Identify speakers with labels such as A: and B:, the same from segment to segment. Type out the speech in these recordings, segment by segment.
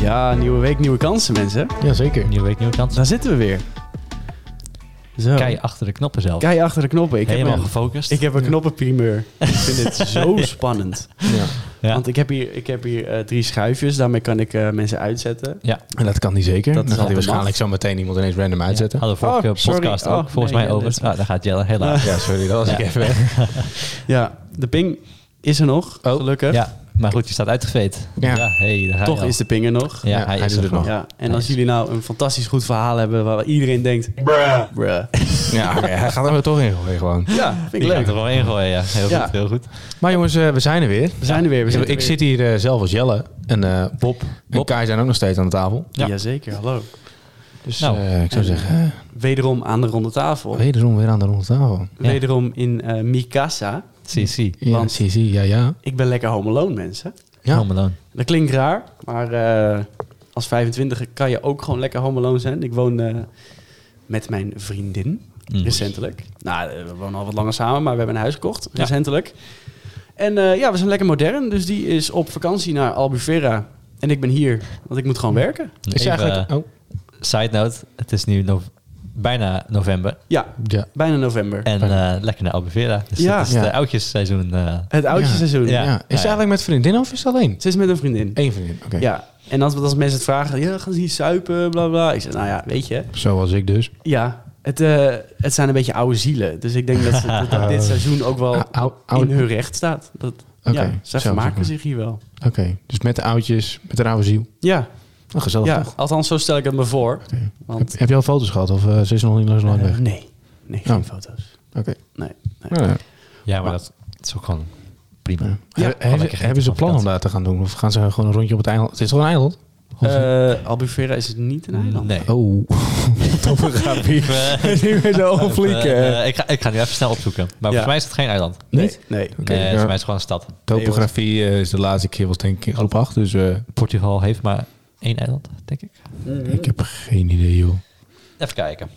A: Ja, nieuwe week, nieuwe kansen, mensen.
B: Jazeker.
C: Nieuwe week, nieuwe kansen.
A: Daar zitten we weer. Zo.
C: Kei achter de knoppen zelf.
A: Kei achter de knoppen. Ik
C: Helemaal
A: heb een,
C: gefocust.
A: ik heb een knoppenprimeur. ik vind het zo spannend.
B: Ja.
C: Ja.
A: Want ik heb hier, ik heb hier eh, drie schuifjes. Daarmee kan ik eh, mensen uitzetten.
B: En dat kan die zeker.
A: Dat
B: Dat
A: is
B: Dan gaat hij
A: altijd
B: waarschijnlijk zo meteen iemand ineens random uitzetten.
C: Ja, hadden we vorige
A: Oh, sorry.
C: podcast ook,
A: Oh,
C: volgens
A: nee,
C: mij
A: ja,
C: over.
A: dit-
C: Nou, daar gaat Jelle helaas.
B: Ja, sorry, dat was
C: Ja.
B: ik even weg.
A: Ja, de ping is er nog.
B: Oh.
A: Gelukkig.
C: Ja, maar goed, je staat uitgeveet.
B: Ja.
C: hey, daar ga je
A: Toch
C: al.
A: is de ping er nog.
C: Ja,
B: Ja,
C: hij,
B: hij
C: is
B: doet
C: er
B: het nog.
C: nog.
A: Ja, en als jullie nou een fantastisch goed verhaal hebben waar iedereen denkt... Bruh.
B: Ja, oké, hij gaat er weer toch in gooien gewoon.
A: Ja, vind ik
C: Die gaat
A: leuk.
C: er wel in gooien, ja. Heel
A: Ja.
C: goed, heel goed.
B: Maar jongens, eh, we zijn er weer.
A: We zijn er weer. We
B: Ik,
A: zijn er weer.
B: zit hier eh, zelf als Jelle. En eh, Bob en
C: Bob.
B: Kai zijn ook nog steeds aan de tafel.
C: Ja.
A: Jazeker, hallo.
B: Dus
C: Nou,
B: eh, ik zou
A: en-
B: zeggen, eh,
A: Wederom aan de ronde tafel.
B: wederom weer aan de ronde tafel.
C: Ja.
A: Wederom in eh, Mikasa.
C: CC,
B: Ja,
A: Want-
B: zie, zie, ja, ja.
A: Ik ben lekker home alone, mensen.
B: Ja.
C: Home Alone.
A: Dat klinkt raar, maar eh, als 25 kan je ook gewoon lekker home alone zijn. Ik woon eh, met mijn vriendin,
C: Mm.
A: recentelijk. Nou, eh, we wonen al wat langer samen, maar we hebben een huis gekocht,
C: Ja.
A: recentelijk. En eh, ja, we zijn lekker modern, dus die is op vakantie naar Albufeira. En ik ben hier, want ik moet gewoon werken.
B: Is
C: Even, eh,
B: eigenlijk... Oh,
C: Side note, het is nu nov- bijna november.
A: Ja,
B: ja.
A: bijna november.
C: En
B: Bijna.
C: eh, lekker naar Albufeira. Dus
A: Ja.
C: dat is
B: Ja.
C: de oudjesseizoen. eh,
A: Het oudste
B: Ja.
A: seizoen.
C: Ja.
B: Ja. Is het eigenlijk met vriendin of is het alleen?
A: Ze is met een vriendin.
B: Eén vriendin, oké.
A: Ja, en als, als mensen het vragen, ja, gaan ze hier suipen, bla bla. Ik zeg, nou ja, weet je.
B: Zoals ik dus.
A: Ja, het, eh, het zijn een beetje oude zielen. Dus ik denk dat, ze, dat, dat dit seizoen ook wel
B: Ah, ou- ou-
A: in hun recht staat. Dat,
B: Oké,
A: ja,
B: zo,
A: ze
B: zo,
A: vermaken
B: zo.
A: zich hier wel.
B: Oké, dus met de oudjes, met de oude ziel.
A: Ja,
B: Nou, gezellig
A: ja,
B: toch?
A: althans zo stel ik het me voor.
B: Oké.
A: Want,
B: Heb, heb je al foto's gehad of eh, ze is nog niet lang
A: eh,
B: weg?
A: nee, nee, geen
B: Oh.
A: foto's.
B: Oké.
A: Nee, nee.
B: Ja, ja.
C: ja, maar
A: Maar-
C: dat, dat is ook gewoon prima.
B: Ja.
A: Ja,
B: Hebben- hebben,
C: lekker
B: hebben ze
C: genieten
B: plan om
C: van
B: daar te gaan doen? Of gaan ze gewoon een rondje op het eiland? Het is toch een eiland? Of-
A: Eh, Albufeira is niet een eiland.
C: Nee.
B: Oh.
C: Ik, eh,
B: Nu weer zo
C: eh, eh, ik, ga, ik ga nu even snel opzoeken. Maar
A: Ja.
C: voor mij is het geen eiland.
A: Nee, nee.
B: Oké,
C: nee,
B: ja.
C: voor mij is het Eh, gewoon een stad.
B: Topografie eh, is de laatste keer was denk ik in groep 8. Dus eh,
C: Portugal heeft maar één eiland, denk ik.
B: ik heb geen idee joh.
C: Even kijken.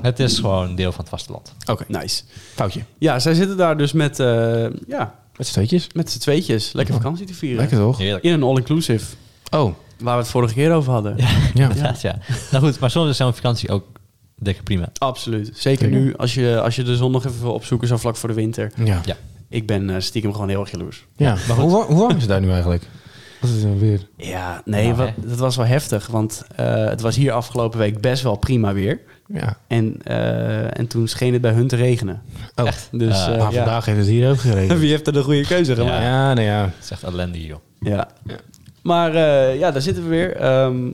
C: Het is gewoon deel van het vasteland.
B: Oké,
A: Nice.
B: foutje.
A: Ja, zij zitten daar dus met, eh, ja,
B: Met steetjes.
A: met z'n tweetjes. Lekker
B: Ja.
A: vakantie te vieren.
B: Oh. Lekker toch?
C: Heerlijk.
A: In een all-inclusive.
B: Oh,
A: Waar we het vorige keer over hadden.
B: ja.
C: Ja. ja. Nou goed, maar zonder zo'n vakantie ook dikke prima.
A: Absoluut. Zeker
B: Zeker.
A: nu, als je, als je de zon nog even wil opzoeken, zo vlak voor de winter.
B: Ja.
C: Ja.
A: Ik ben eh, stiekem gewoon heel erg jaloers.
B: Ja. Maar hoe, wa- hoe warm is het daar nu eigenlijk? Wat is het weer?
A: Ja, nee,
C: Ja,
A: wat-
C: Nou, hè?
A: dat was wel heftig. Want eh, het was hier afgelopen week best wel prima weer.
B: Ja.
A: En, eh, en toen scheen het bij hun te regenen.
B: Oh.
C: Echt.
A: Dus
C: Eh,
A: eh,
B: maar
A: ja.
B: vandaag heeft het hier ook geregend.
A: wie heeft er de goede keuze
C: Ja.
A: gemaakt?
B: Ja, nou ja.
C: Het is echt ellende hier, joh.
A: Ja.
B: Ja.
A: Maar eh, ja, daar zitten we weer. Ehm,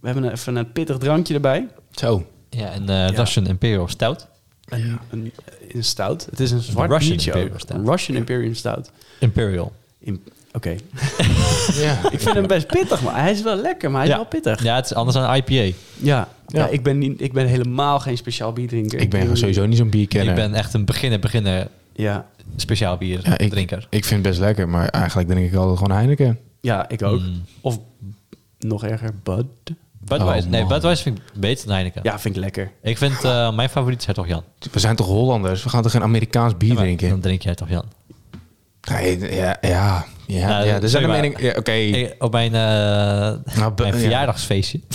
A: we hebben even een pittig drankje erbij.
B: Zo.
C: Ja, en eh Russian Imperial Stout.
A: Een, een, een stout. Het is een zwart
C: Ah, Russian
A: biertje ook.
C: Imperial Stout.
A: Een Russian Imperium Stout.
C: Imperial.
A: Im- Oké.
B: Ja.
A: Ik vind hem best pittig, maar hij is wel lekker, maar hij is
C: Ja.
A: wel pittig.
C: Ja, het is anders dan IPA.
A: Ja, ja.
B: Ja.
A: ik, ben niet, ik ben helemaal geen speciaal bierdrinker.
B: Ik ben gewoon sowieso niet zo'n bierkenner.
C: Ik ben echt een beginner, beginner
A: Ja,
C: speciaal bier
B: Ja, ik,
C: drinker.
B: ik vind het best lekker, maar eigenlijk drink ik altijd gewoon Heineken.
A: ja ik ook.
C: Mm.
A: Of nog erger, Bud.
C: Budweiser.
B: Oh,
C: nee,
B: man.
C: Budweiser vind ik beter dan Heineken.
A: Ja, vind ik lekker.
C: Ik vind eh, mijn favoriet is Hertog Jan.
B: We zijn toch Hollanders? We gaan toch geen Amerikaans bier
C: Ja, maar
B: drinken?
C: Dan drink je Hertog Jan.
B: Nee, ja, ja, ja.
C: Nou,
B: ja er zijn
C: sorry,
B: een
C: maar-
B: mening... Ja, Oké.
C: Ik- op mijn, eh,
B: Nou, be-
C: mijn
B: ja.
C: verjaardagsfeestje,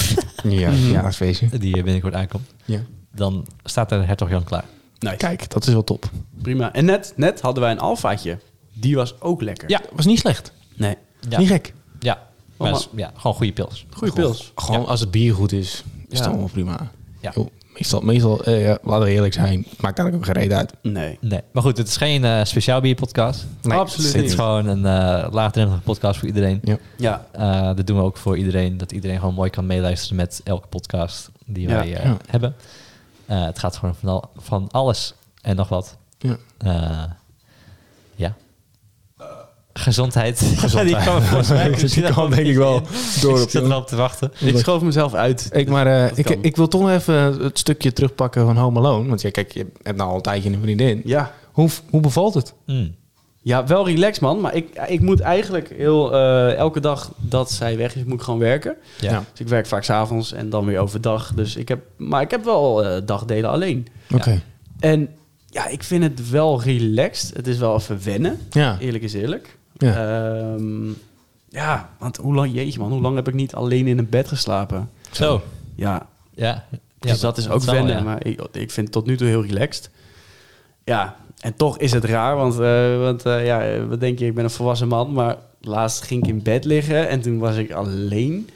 B: Ja, ja, dat is feestje.
C: die eh, binnenkort aankomt,
B: Ja.
C: dan staat er Hertog Jan klaar.
A: Nice.
B: Kijk, dat is wel top.
A: Prima. En net, net hadden wij een alfaatje. Die was ook lekker.
C: Ja.
B: was niet slecht.
A: Nee.
C: Ja,
B: Niet gek.
C: ja. Maar dat is- ja gewoon goede pils.
A: Goeie pils.
B: Gewoon als het bier goed is, is
A: Ja.
B: het allemaal prima.
C: Ja.
B: Joh, meestal, meestal eh, ja, laten we eerlijk zijn, maakt eigenlijk ook geen reet uit.
A: Nee.
C: Nee, maar goed, het is geen eh, speciaal bierpodcast.
B: Nee,
A: Absoluut
B: zit
C: Het is
A: niet.
C: gewoon een eh laagdrempelige podcast voor iedereen.
B: Ja.
A: Ja.
C: Eh, dat doen we ook voor iedereen, dat iedereen gewoon mooi kan meeluisteren met elke podcast die
A: Ja.
C: wij eh,
B: Ja.
C: hebben. Eh, het gaat gewoon van, al- van alles en nog wat.
B: Ja.
C: Eh, ja. Gezondheid.
B: Gezondheid.
C: die kwam volgens mij.
B: Die kwam denk ik wel door op,
C: Ik zat erop te wachten.
A: Ik schoof mezelf uit.
B: Ik, maar eh, ik,
A: kan.
B: ik wil toch nog even het stukje terugpakken van Home Alone. Want ja, kijk, je hebt nou al een tijdje een vriendin.
A: Ja.
B: Hoe, hoe bevalt het?
C: Mm.
A: Ja, wel relaxed man. Maar ik, ik moet eigenlijk heel eh, elke dag dat zij weg is, moet ik gewoon werken.
C: Ja.
B: Ja.
A: Dus ik werk vaak s'avonds en dan weer overdag. Dus ik heb, maar ik heb wel eh, dagdelen alleen.
B: Oké.
A: En Ja, ik vind het wel relaxed. Het is wel even wennen.
B: Ja.
A: Eerlijk is eerlijk.
B: Ja.
A: Ja, ja want hoe lang, jeetje man, hoe lang heb ik niet alleen in een bed geslapen?
C: Zo,
A: Ja,
C: ja.
A: dus dat is ook
C: wel,
A: wennen.
C: ja.
A: Maar ik, ik vind het tot nu toe heel relaxed. Ja, en toch is het raar, want, eh, want eh, ja, eh, wat denk je, ik ben een volwassen man, maar laatst ging ik in bed liggen en toen was ik alleen.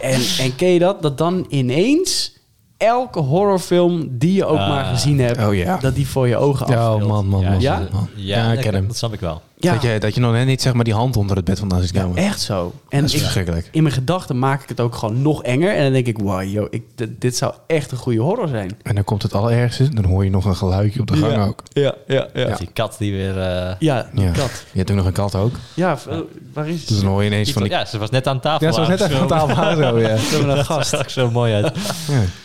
A: en, en ken je dat? Dat dan ineens elke horrorfilm die je ook
C: Ah.
A: maar gezien hebt,
B: Oh ja.
A: dat die voor je ogen
B: Ja,
A: afspeelt.
B: man, man, man.
C: Ja,
B: man,
A: ja.
B: man.
C: Ja,
B: Ja, ik
C: dat-
B: ken hem.
C: Dat snap ik wel.
A: Ja,
B: Dat, je, dat je nog net niet zeg maar die hand onder het bed vandaan zit komen.
A: echt zo. En
B: dat is
A: ik,
B: verschrikkelijk.
A: in mijn gedachten maak ik het ook gewoon nog enger. En dan denk ik, wow, yo, ik, dit- dit zou echt een goede horror zijn.
B: En dan komt het allerergste. Dan hoor je nog een geluidje op de gang
A: Ja.
B: ook.
A: Ja, ja, ja.
C: Dus Die kat die weer... eh,
A: Ja,
B: Ja.
A: dat.
B: Je hebt ook nog een kat ook.
A: Ja, v- waar is
B: Dus dan hoor je ineens
C: die
B: van...
C: kat-
B: die-
C: ja, ze was net aan tafel.
B: Ja, ze was net even aan
C: aangeschoven.
B: tafel aangeschoven, ja.
A: Zullen we naar
C: Dat
A: gast?
C: zag er zo mooi uit.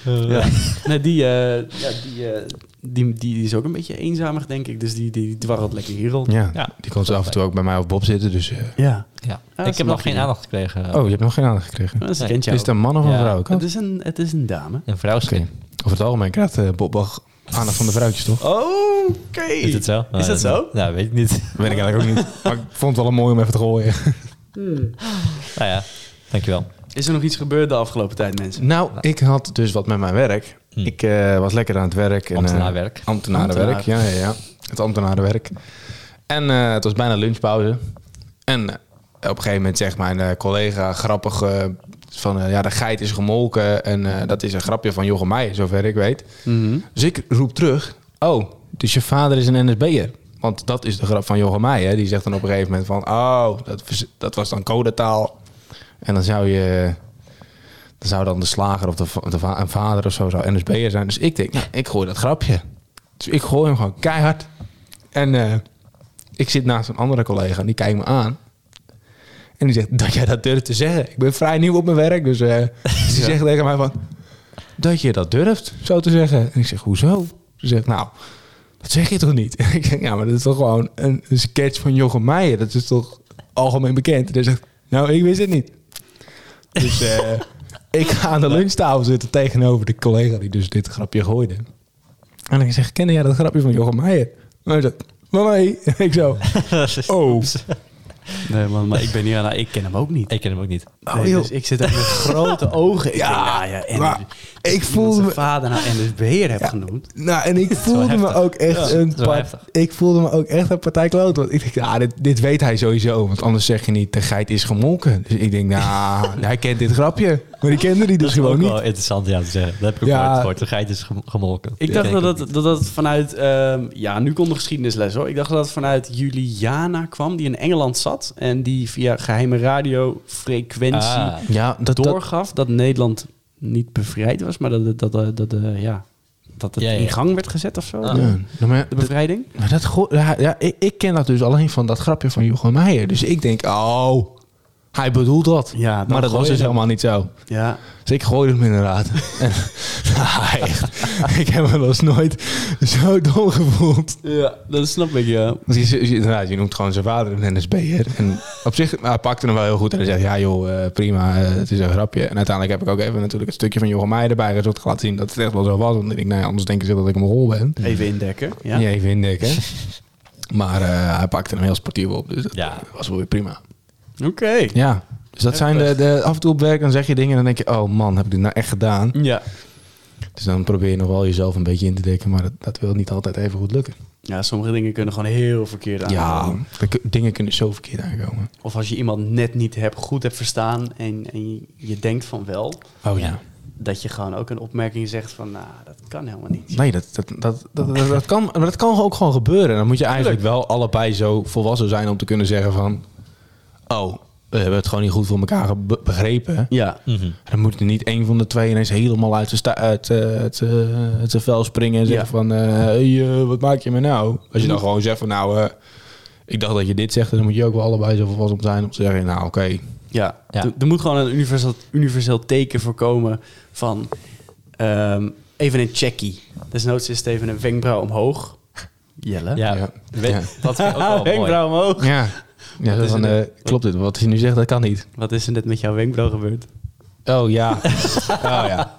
B: Ja.
A: Ja. Nee, die, eh, ja, die, eh, die, die, die is ook een beetje eenzamer, denk ik. Dus die, die dwarrelt lekker hier rond.
B: Ja.
C: Ja.
B: die komt af en toe ook bij mij op Bob zitten. Dus, eh,
A: Ja.
C: Ja.
A: dat
C: ik heb
A: snap
C: nog
A: je.
C: geen aandacht gekregen.
B: Oh, je hebt nog geen aandacht gekregen.
A: Dat is,
C: Nee.
A: kent jou
B: Is het een man of een
C: Ja.
B: vrouw? ook?
A: ook. het, is een, het is een dame.
C: Een vrouwskin.
B: Oké. Over het algemeen krijgt eh, Bob wel aandacht van de vrouwtjes, toch?
A: Oké.
C: Is het zo?
A: Is
C: Nou,
A: dat zo?
C: Nou, weet ik niet.
B: Weet ik eigenlijk ook niet. Maar ik vond het wel een mooi om even te gooien.
C: nou ja, dankjewel.
A: Is er nog iets gebeurd de afgelopen tijd, mensen?
B: Nou, ik had dus wat met mijn werk.
C: Hm.
B: Ik eh, was lekker aan het werk. En, eh,
C: Ambtenaarwerk.
B: ambtenarenwerk, ja, ja, ja. Het ambtenarenwerk. En eh, het was bijna lunchpauze. En eh, op een gegeven moment zegt mijn eh, collega grappig eh, van... eh, ja, de geit is gemolken en eh, dat is een grapje van Jochem Meijer, zover ik weet. Dus ik roep terug... Oh, dus je vader is een NSB'er. Want dat is de grap van Jochem Meijer. Die zegt dan op een gegeven moment van... Oh, dat, vers- dat was dan codetaal. En dan zou je... Dan zou dan de slager of de, va- de va- een vader of zo zou NSB'er zijn. Dus ik denk, nou, ik gooi dat grapje. Dus ik gooi hem gewoon keihard. En eh, ik zit naast een andere collega en die kijkt me aan. En die zegt, dat jij dat durft te zeggen. Ik ben vrij nieuw op mijn werk, dus eh, dus die zegt tegen mij van... Dat je dat durft, zo te zeggen. En ik zeg, hoezo? Ze zegt, nou, dat zeg je toch niet? ik zeg, ja, maar dat is toch gewoon een, een sketch van Jochem Meijer. Dat is toch algemeen bekend? En hij zegt, nou, ik wist het niet. Dus eh, ik ga aan de lunchtafel zitten tegenover de collega die dus dit grapje gooide. En ik zeg, kende jij dat grapje van Jochem Meijer? En hij zegt, maar nee. En ik zo, oh.
A: Nee, man, maar ik ben hier aan. Ik ken hem ook niet.
C: Ik ken hem ook niet.
A: Nee, dus ik zit ook met grote ogen. Ik
B: Ja,
A: denk, nou ja, en
B: maar
A: dus-
B: ik
A: iemand
B: voelde
A: zijn
B: me-
A: vader nou en dus beheer heb
B: Ja.
A: genoemd.
B: Nou, en ik
C: wel
B: voelde me
C: heftig.
B: ook echt
C: Ja,
B: een
C: het is wel
B: part-
C: heftig.
B: Ik voelde me ook echt een partij kloot. Want ik dacht, ah, dit, dit weet hij sowieso. Want anders zeg je niet, de geit is gemolken. Dus ik denk, nou, hij kent dit grapje. Maar die kende die dus
C: is
B: gewoon
C: ook
B: niet.
C: wel interessant ja, te zeggen. Dat heb ik ook
B: Ja.
C: nooit gehoord. De geit is gem- gemolken.
A: Ik dacht
C: Ken
A: dat
C: ook
A: dat, dat dat vanuit... ehm, ja, nu komt de geschiedenisles hoor. Ik dacht dat dat vanuit Juliana kwam, die in Engeland zat. En die via geheime
C: niet.
A: radiofrequentie
C: Ah,
B: Ja, dat,
A: doorgaf dat Nederland niet bevrijd was. Maar dat, dat, dat, eh, dat, eh, ja, dat het
C: Ja, ja.
A: in gang werd gezet of zo.
C: Ah.
A: de-
B: Ja, nou, maar
A: De bevrijding.
B: Maar dat go- ja, ja, ik, ik ken dat dus alleen van dat grapje van Jochem Meijer. Dus ik denk, oh, hij bedoelt dat.
A: Ja, dan
B: maar dat
A: gooi
B: was
A: je
B: dus
A: hem.
B: helemaal niet zo.
A: Ja.
B: Dus ik gooide hem inderdaad. En, nou, echt, ik heb me wel eens nooit zo dom gevoeld.
A: ja, dat snap ik, ja.
B: Want je, je- inderdaad, je noemt gewoon zijn vader een NSB'er. En op zich, maar hij pakte hem wel heel goed. En hij zegt, ja joh, eh, prima, eh, het is een grapje. En uiteindelijk heb ik ook even natuurlijk een stukje van Jochem Meijer erbij gezocht. Laten zien dat het echt wel zo was. Want ik denk, nou ja, anders denken ze dat ik een rol ben.
A: Even indekken. Ja.
B: Ja. Niet even indekken. maar eh, hij pakte hem heel sportief op. Dus dat
C: Ja.
B: was wel weer prima.
A: Oké.
B: Ja. Dus dat zijn de, de af en toe op werk, dan zeg je dingen en dan denk je, oh man, heb ik dit nou echt gedaan?
A: Ja.
B: Dus dan probeer je nog wel jezelf een beetje in te dekken, maar dat, dat wil niet altijd even goed lukken.
A: Ja, sommige dingen kunnen gewoon heel verkeerd aan.
B: Ja, de k- dingen kunnen zo verkeerd aankomen.
A: Of als je iemand net niet hebt, goed hebt verstaan en, en je- je denkt van wel,
B: Oh
C: ja.
A: dat je gewoon ook een opmerking zegt van, nou, dat kan helemaal niet.
B: Nee, dat, dat, dat, dat, dat, dat kan, maar dat kan ook gewoon gebeuren. Dan moet je eigenlijk wel allebei zo volwassen zijn om te kunnen zeggen van... Oh, we hebben het gewoon niet goed voor elkaar ge- be- begrepen.
A: Ja.
C: mhm.
B: Dan moet er niet één van de twee ineens helemaal uit zijn, sta- uit, eh, uit, eh, uit zijn vel springen en zeggen
A: Ja. Mm.
B: van, eh, hey, eh, wat maak je me nou? Als je dan gewoon zegt van, nou, eh, ik dacht dat je dit zegt, dan moet je ook wel allebei zo volwassen op zijn om te zeggen, nou, oké.
A: Ja,
C: Ja.
A: Er, er moet gewoon een universeel, universeel teken voorkomen van ehm, even een checkie. Desnoods is het even een wenkbrauw omhoog. Jelle.
C: Ja,
B: Ja.
C: weet-
B: Ja.
C: dat vind ik ook wel mooi.
A: wenkbrauw omhoog.
B: Ja, ja zo
A: is
B: van,
A: het?
B: eh, klopt dit? Wat hij nu zegt, dat kan niet.
A: Wat is er net met jouw wenkbrauw gebeurd?
B: Oh ja. oh ja.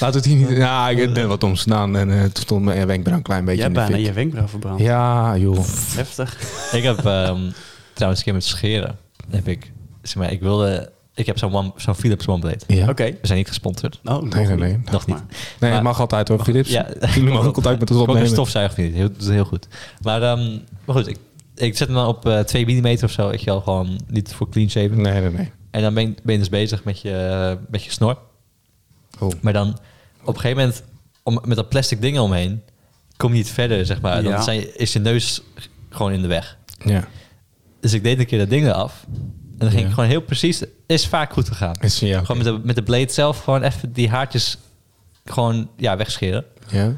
B: Laat het hier niet. Nou, ik ben wat omstaan en eh, toen stond mijn wenkbrauw een klein beetje.
A: Jij
B: in
A: hebt
B: de
A: bijna
B: fik.
A: je wenkbrauw verbrand.
B: Ja, joh.
A: Heftig.
C: Ik heb ehm, trouwens een keer met scheren. Heb ik, zeg maar, ik wilde. Ik heb zo'n one- zo'n Philips OneBlade.
B: Ja.
A: Oké.
C: We zijn niet gesponsord.
A: Oh,
B: Nee, nee, nee.
C: Nog niet.
B: Nee, het
C: Maar-
B: mag altijd hoor, Philips.
C: Ja.
B: Jullie mogen ook altijd met ons
C: Ik heb ook
B: opnemen.
C: een stofzuiger vind ik. Heel, dat is heel goed. Maar, ehm, maar goed, ik, ik zet hem dan op eh 2 mm of zo. Weet je wel, gewoon niet voor clean shaven.
B: Nee, nee, nee.
C: En dan ben je, ben je dus bezig met je, met je snor.
B: Oh.
C: Maar dan op een gegeven moment, om, met dat plastic ding omheen, kom je niet verder, zeg maar. Dan
A: Ja.
C: zijn je- is je neus gewoon in de weg.
B: Ja.
C: Dus ik deed een keer dat ding eraf. En dan ging
B: Ja.
C: ik gewoon heel precies... Is vaak goed gegaan.
B: Is, ja, oké.
C: Gewoon met de, met de blade zelf gewoon even die haartjes gewoon ja, wegscheren.
B: ja.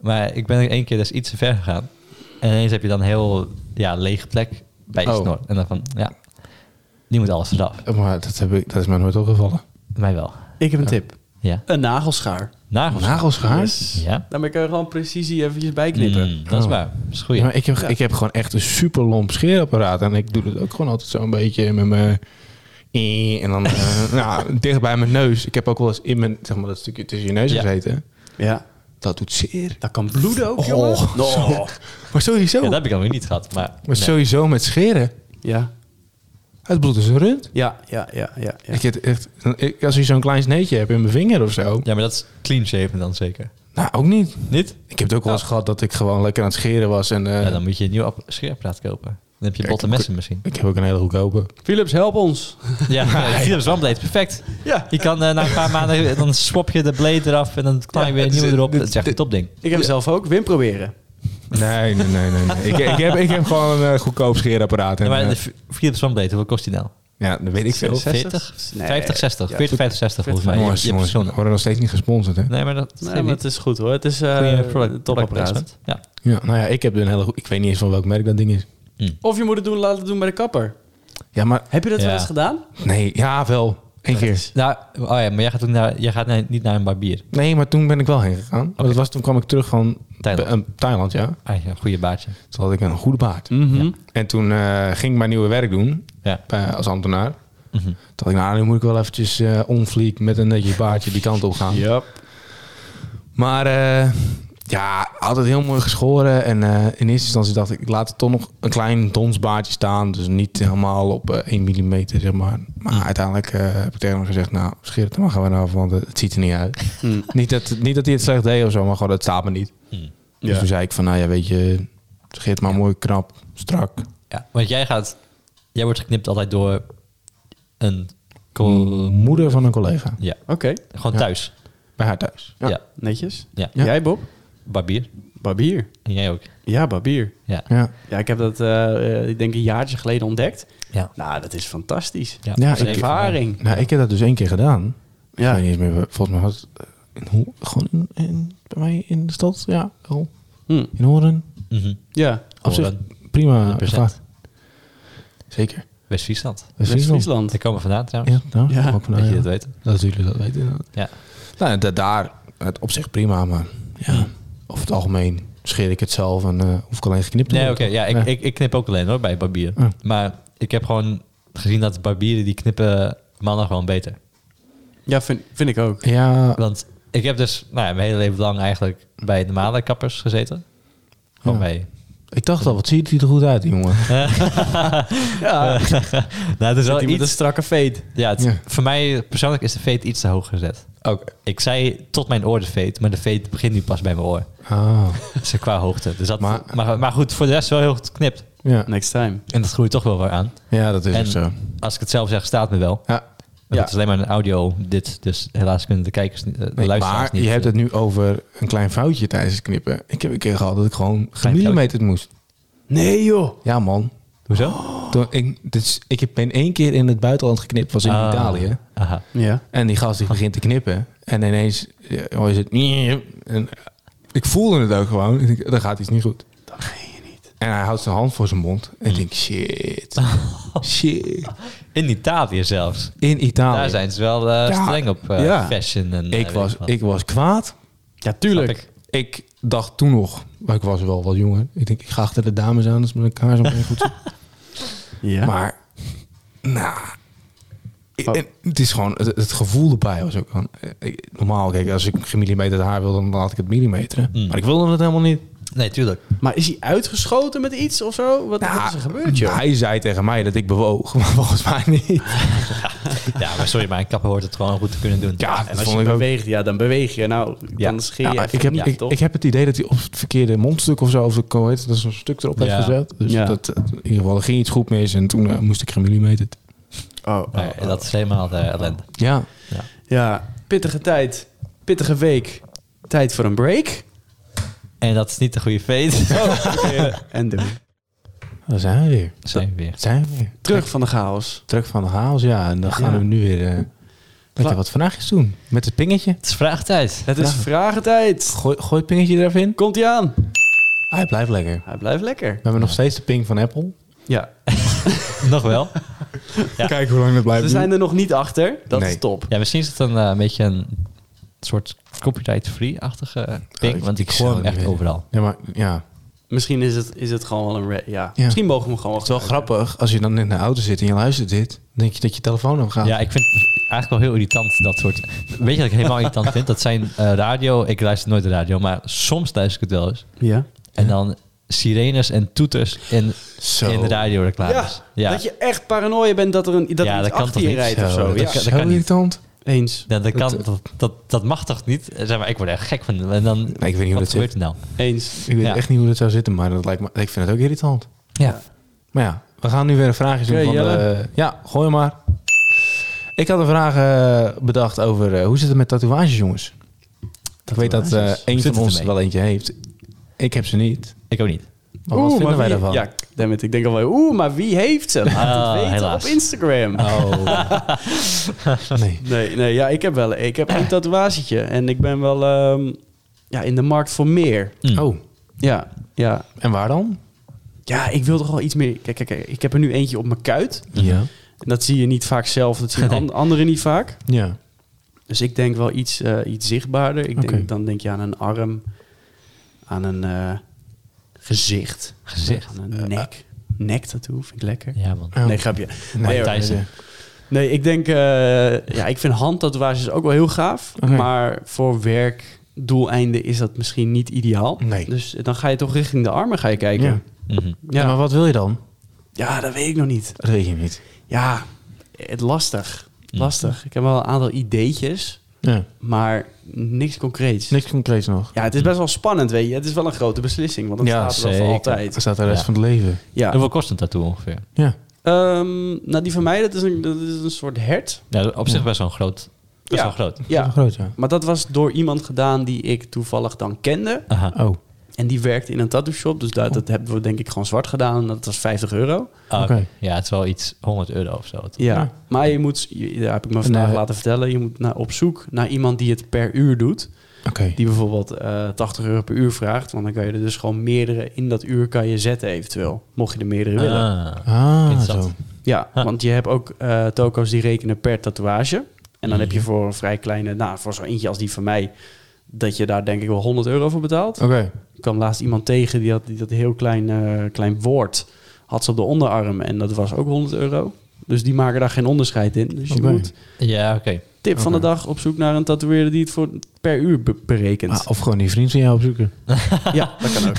C: Maar ik ben één keer dus iets te ver gegaan. En ineens heb je dan een heel ja, lege plek bij je
B: Oh.
C: snor. En dan van, ja, die moet alles eraf.
B: Maar dat, heb ik, dat is mij nooit opgevallen.
C: Mij wel.
A: Ik heb een tip.
C: Ja.
A: Een nagelschaar.
C: Nagels.
B: Nagelschaar?
C: Ja.
A: Dan ben ik er gewoon precisie eventjes bij knippen.
C: Mm, dat is
B: Oh.
C: waar. Dat is goed.
B: Ja, maar ik, heb, ik heb gewoon echt een super lomp scheerapparaat. En ik doe dat ook gewoon altijd zo'n beetje met mijn... Eh, En dan eh, nou, dicht bij mijn neus. Ik heb ook wel eens in mijn, zeg maar, dat stukje tussen je neus
C: Ja.
B: gezeten.
A: Ja.
B: Dat doet zeer.
A: Dat kan bloeden ook,
B: Oh,
A: jongen. No.
B: Maar sowieso,
C: Ja, dat heb ik dan weer niet gehad. Maar,
B: maar
C: nee.
B: sowieso met scheren.
A: Ja.
B: Het bloed is een rund.
A: Ja, ja, ja, ja. ja.
B: Ik heb echt, ik- als je zo'n klein sneetje hebt in mijn vinger of zo.
C: ja, maar dat is clean shaven dan zeker.
B: Nou, ook niet.
C: Niet?
B: Ik heb het ook wel eens gehad dat ik gewoon lekker aan het scheren was. En, eh,
C: Ja, dan moet je een nieuw app- scheerapparaat kopen. Dan heb je
B: Ja,
C: botte
B: ik-
C: messen misschien.
B: Ik heb ook een hele goedkope.
A: Philips, help ons.
C: Ja, Philips OneBlade, perfect.
A: Ja.
C: Je kan eh, na een paar maanden, dan swap je de blade eraf en dan knal je
B: Ja,
C: weer een
B: dit-
C: nieuwe erop.
B: dit-
C: Dat is echt een
B: dit-
C: topding.
A: Ik heb zelf ook. Wim proberen.
B: Nee, nee, nee. nee, nee. ik, ik, heb, ik heb gewoon een eh, goedkoop scheerapparaat. En,
C: Ja, maar
B: eh,
C: de F- Philips OneBlade, hoeveel kost die nou?
B: ja, dat weet ik veel.
C: 40?
A: Nee.
C: 50, 60.
A: Ja,
C: 40, 50, 60 volgens mij. Je-
B: Jongens,
C: je hebt
B: jongens, we
C: zo'n-
B: worden nog steeds niet gesponsord, hè?
C: Nee, maar dat
A: Nee,
C: geeft
A: maar
C: niet.
A: het is goed hoor. Het is
C: Goeie
A: eh
C: product-
A: een topapparaat.
C: product placement. Ja.
B: Ja, nou ja, ik heb een hele goe- Ik weet niet eens van welk merk dat ding is.
A: Of je moet het doen, laten doen bij de kapper.
B: Ja, maar...
A: Heb je dat
C: Ja.
A: wel eens gedaan?
B: Nee, ja, wel. Eén keer.
C: Nou, oh ja, maar jij gaat, ook naar, jij gaat naar- niet naar een barbier.
B: Nee, maar toen ben ik wel heen gegaan. Maar dat was, toen kwam ik terug van
C: Thailand.
B: eh, Thailand, ja.
C: Ah, ja, een goede baardje.
B: Toen had ik een goede baard. En toen eh, ging ik mijn nieuwe werk doen
C: Ja.
B: eh, als ambtenaar. Toen dacht ik, nou, nu moet ik wel eventjes eh onvliek met een netje baardje die kant op gaan. Maar eh, ja, altijd heel mooi geschoren. En eh, in eerste instantie dacht ik, ik laat het toch nog een klein donsbaardje staan. Dus niet helemaal op eh, 1 mm, zeg maar. Maar uiteindelijk eh, heb ik tegen hem gezegd, nou, scheer het er maar gewoon af, want het, het ziet er niet uit. niet, dat, niet dat hij het slecht deed of zo, maar gewoon, het staat me niet. Dus
A: Ja.
B: toen zei ik van, nou ja, weet je, scheer het maar mooi knap, strak.
C: ja. Want jij gaat... Jij wordt geknipt altijd door een... co-
B: Moeder van een collega,
C: Ja,
A: Oké.
C: gewoon
B: Ja.
C: thuis.
B: bij haar thuis.
C: Ja.
B: Ja.
C: Ja.
A: Netjes.
B: Ja.
A: Jij, Bob?
C: Barbier.
A: Barbier.
C: En jij ook.
A: Ja, barbier.
C: Ja.
B: Ja.
A: Ja, ik heb dat, eh, eh, ik denk, een jaartje geleden ontdekt.
C: Ja.
A: Nou, dat is fantastisch.
C: Ja,
B: Ja,
A: Dat is een
B: ik-
A: ervaring.
B: Nou, ik heb dat dus één keer gedaan. Ja. Ik
A: Ja.
B: weet niet eens meer, volgens mij was het eh, in, Ho- gewoon in, in- bij mij in de stad. Ja, wel.
A: Hm.
B: in Horen.
C: Mhm.
A: Ja.
B: Op zich
C: Horen.
B: prima
C: 100%.
B: geslaagd. Zeker.
C: West-Friesland.
B: Dat is Friesland.
A: Friesland.
C: Daar komen we vandaan trouwens.
B: Ja, nou,
A: Ja.
B: ook
C: Dat
B: nou,
C: je
B: ja.
C: dat weet.
B: Dat jullie dat weten. inderdaad.
C: Ja.
B: Nou, da- daar, het op zich prima, maar ja, over het algemeen scheer ik het zelf en eh, hoef ik alleen geknipt te
C: Nee, oké.
B: worden.
C: ja, ik, Ik, ik knip ook alleen hoor, bij barbier.
B: Ja.
C: Maar ik heb gewoon gezien dat barbieren die knippen mannen gewoon beter.
A: Ja, vind, vind ik ook.
B: Ja,
C: Want ik heb dus nou, ja, mijn hele leven lang eigenlijk bij normale kappers gezeten. Gewoon
B: Ja.
C: bij...
B: ik dacht al, wat ziet hij er goed uit, die jongen.
A: Ja.
C: nou, het is wel
A: Die met een
C: iets...
A: strakke fade.
C: Ja, het-
B: Ja.
C: voor mij persoonlijk is de veet iets te hoog gezet.
B: Oké.
C: Ik zei tot mijn oor de veet, maar de veet begint nu pas bij mijn oor.
B: Ah,
C: Dus qua hoogte. Dus dat, maar,
B: Maar-
C: maar, goed, voor de rest wel heel goed geknipt.
B: ja.
A: Next time.
C: En dat groeit toch wel weer aan.
B: ja, dat is
C: En-
B: ook zo.
C: Als ik het zelf zeg, staat me wel.
B: Ja.
C: Maar
A: Ja.
C: Het is alleen maar een audio, dit. Dus helaas kunnen de kijkers, niet- eh, de
B: Nee,
C: luisteraars
B: maar
C: niet.
B: je hebt het nu over een klein foutje tijdens het knippen. Ik heb een keer gehad dat ik gewoon
C: Klein
B: gemillimeterd moest.
A: Nee, joh.
B: Ja, man.
C: eh, Hoezo?
B: Toen, ik, dus, ik heb- ben één keer in het buitenland geknipt, was in
C: Ah,
B: Italië.
C: Aha.
A: Ja.
B: En die gast die begint te knippen. En ineens ja, hoor je het... En ik voelde het ook gewoon. Ik denk, er gaat iets niet goed.
A: Dat meen je niet.
B: En hij houdt zijn hand voor zijn mond. En ik denk, shit. Shit.
C: In Italië zelfs.
B: In Italië.
C: Daar zijn ze wel eh,
B: Ah, Ja.
C: streng op eh,
B: Ja.
C: fashion. En, eh,
B: ik,
C: weet
B: was,
C: wat.
B: ik was kwaad.
A: Ja, tuurlijk.
C: Snap ik.
B: Ik dacht toen nog... Maar ik was wel wat jonger. Ik denk, ik ga achter de dames aan. Dat is met elkaar zo goed.
A: Ja.
B: Maar, nou, Ik-
A: Oh.
B: en het is gewoon het, het gevoel erbij was ook gewoon. eh, ik- normaal, kijk, als ik gemillimeterd haar wilde, dan had ik het millimeteren.
C: Mm.
B: Maar ik wilde het helemaal niet.
C: Nee, tuurlijk.
A: Maar is hij uitgeschoten met iets of zo? Wat,
B: Nou,
A: wat is er gebeurd, joh?
B: Hij zei tegen mij dat ik bewoog, maar volgens mij niet.
C: Ja, maar sorry, maar een kapper hoort het gewoon goed te kunnen doen.
B: Ja, dat
A: En als
B: vond
A: je
B: ik ook.
A: beweegt, ja, dan beweeg je. Nou,
C: Ja.
A: dan scheer je
B: Ja,
A: even,
B: ik, heb,
A: ja,
B: ik,
A: toch?
B: ik heb het idee dat hij op het verkeerde mondstuk of zo, of zo, hoe heet het, dat zo'n stuk erop
C: Ja.
B: heeft gezet. Dus
A: Ja.
B: dat, in ieder geval, er ging iets goed mis en toen eh, moest ik gemillimeterd.
A: Oh, oh,
C: Nee,
A: oh.
C: dat is helemaal de ellende.
B: Ja.
A: Ja, pittige tijd. Pittige week. Tijd voor een break.
C: En dat is niet de goede feit.
A: en doen.
B: Daar zijn we weer.
C: Zijn we weer.
B: Daar zijn we weer.
A: Terug van de chaos.
B: Druk van de chaos, ja. En dan gaan
A: Ja.
B: we nu weer eh lekker wat vraagjes doen. Met het pingetje.
C: Het is vraagtijd.
A: Het is
B: Ja.
A: vragentijd.
B: Gooi, gooi het pingetje er even in.
A: Komt hij aan?
B: Hij blijft lekker.
A: Hij blijft lekker.
B: We hebben nog steeds de ping van Apple.
A: Ja.
C: Nog wel. Ja.
B: Kijk hoe lang dat blijft
A: Ze zijn er nog niet achter. Dat
B: Nee.
A: is top.
C: Ja, misschien is het een eh, beetje een soort copyright-free-achtige ding.
B: ik-
C: want ik
B: ik
C: hoor
B: zou
C: hem
B: het
C: echt
B: niet weten.
C: overal.
B: Ja, maar ja.
A: Misschien is het, is het gewoon wel een... re- Ja.
B: Ja.
A: Misschien mogen we hem gewoon
B: Het is wel grappig. Als je dan in de auto zit en je luistert dit. Dan denk je dat je telefoon omgaat.
C: Ja, ik vind het eigenlijk wel heel irritant, dat soort... Weet je wat ik helemaal irritant vind? Dat zijn eh, radio... Ik luister nooit de radio, maar soms luister ik het wel eens.
A: Ja.
C: En dan sirenes en toeters in,
B: Zo.
C: in de radioreclames.
A: Ja, Dat je echt paranoia bent dat er een, dat
C: Ja,
A: er iets
C: dat kan
A: achter
C: toch
A: je
C: niet?
A: rijdt of
B: Zo,
A: zo.
B: dat,
A: Ja.
B: is
C: dat
B: zo
C: kan niet.
B: irritant.
A: Eens.
C: Ja, dat, kan,
B: Dat-
C: dat, dat, dat mag toch niet? Eh, Zeg maar, ik word er echt gek van. En dan,
B: Nee, ik weet niet hoe
C: wat
B: dat
C: gebeurt
B: zit.
C: er nou?
A: Eens.
B: Ik weet
C: Ja.
B: echt niet hoe dat zou zitten. Maar dat lijkt me, ik vind het ook irritant.
C: Ja.
B: Maar ja, we gaan nu weer een vraagje doen.
A: Oké,
B: van
A: Jelle.
B: de, ja, gooi hem maar. Ik had een vraag eh, bedacht over eh, hoe zit het met tatoeages, jongens? Ik weet dat eh
A: Tatoeages?
B: een
C: zit
B: van
C: het
B: ons er
C: ermee?
B: wel eentje heeft. Ik heb ze niet.
C: Ik ook niet.
B: Maar wat vinden wij
A: wie-
B: daarvan?
A: Ja, damn it, ik denk alweer, oeh, maar wie heeft ze? Laat
C: Ah,
A: het weten
C: helaas.
A: op Instagram.
C: Oh.
B: Nee.
A: Nee, nee, ja, ik heb wel ik heb een tatoeagetje en ik ben wel ehm, ja, in de markt voor meer.
C: Hmm. Hm.
B: Oh,
A: Ja, ja.
B: en waar dan?
A: Ja, ik wil toch wel iets meer. Kijk, kijk, kijk, ik heb er nu eentje op mijn kuit.
B: Ja.
A: En dat zie je niet vaak zelf, dat zien
C: Nee.
A: an- anderen niet vaak.
B: Ja.
A: Dus ik denk wel iets, eh, iets zichtbaarder. Ik denk,
B: Oké.
A: Dan denk je aan een arm, aan een eh, gezicht,
C: Gezicht.
A: aan een nek. Nek tattoo vind ik lekker.
C: Ja, man.
B: Oh.
A: Nee, grapje. Nee, hoor.
C: Thijs.
A: Nee, ik denk, eh, ja, ik vind handtatoeages ook wel heel gaaf.
B: Oké.
A: Maar voor werkdoeleinden is dat misschien niet ideaal.
B: Nee.
A: Dus dan ga je toch richting de armen ga je kijken.
B: Ja.
A: Ja,
C: Mhm.
B: Ja, maar wat wil je dan?
A: dat weet ik nog niet.
B: Dat weet je niet.
A: Ja, het lastig.
C: Mm.
A: Lastig. Ik heb wel een aantal ideetjes,
B: Ja.
A: maar niks concreets.
B: Niks concreets nog.
A: Ja, het is best wel spannend, weet je. Het is wel een grote beslissing, want dat
B: Ja,
A: staat er wel
C: zeker.
A: voor
B: Dat
A: altijd.
B: staat de rest
C: Ja.
B: van het leven.
A: Ja.
C: Hoeveel kost een tattoo ongeveer?
B: Ja.
A: Ehm, nou, die van mij, dat is een, dat is een soort hert.
C: Ja, op zich best wel een groot. Best
A: Ja.
C: wel groot.
B: Zo
A: Ja,
B: groot, ja.
A: maar dat was door iemand gedaan die ik toevallig dan kende.
C: Aha.
B: Oh, oké.
A: En die werkte in een tattoo shop. Dus dat, dat hebben we denk ik gewoon zwart gedaan. En dat was 50 euro.
C: Ah, oké.
B: Oké.
C: Ja, het is wel iets 100 euro of zo. toch?
A: Ja.
B: Ja.
A: Maar je moet, je, daar heb ik me vandaag
B: eh,
A: laten vertellen. Je moet naar, op zoek naar iemand die het per uur doet. Die bijvoorbeeld eh 80 euro per uur vraagt. Want dan kan je er dus gewoon meerdere in dat uur kan je zetten eventueel. Mocht je er meerdere willen.
C: Ah.
B: Ah,
C: Interessant.
B: zo.
A: Ja,
C: Ah.
A: want je hebt ook eh toko's die rekenen per tatoeage. En dan heb je voor een vrij kleine, nou voor zo'n eentje als die van mij... dat je daar denk ik wel 100 euro voor betaalt.
B: Oké.
A: Ik kwam laatst iemand tegen die had, die had een heel klein, eh, klein woord. Had ze op de onderarm en dat was ook 100 euro. Dus die maken daar geen onderscheid in. Dus je
B: Oké.
A: moet.
C: Ja, oké.
A: Tip van de
B: Oké.
A: dag op zoek naar een tatoeëerder die het voor per uur be- berekent.
B: Ah, of gewoon die vriend van jou opzoeken.
A: Ja, dat kan ook.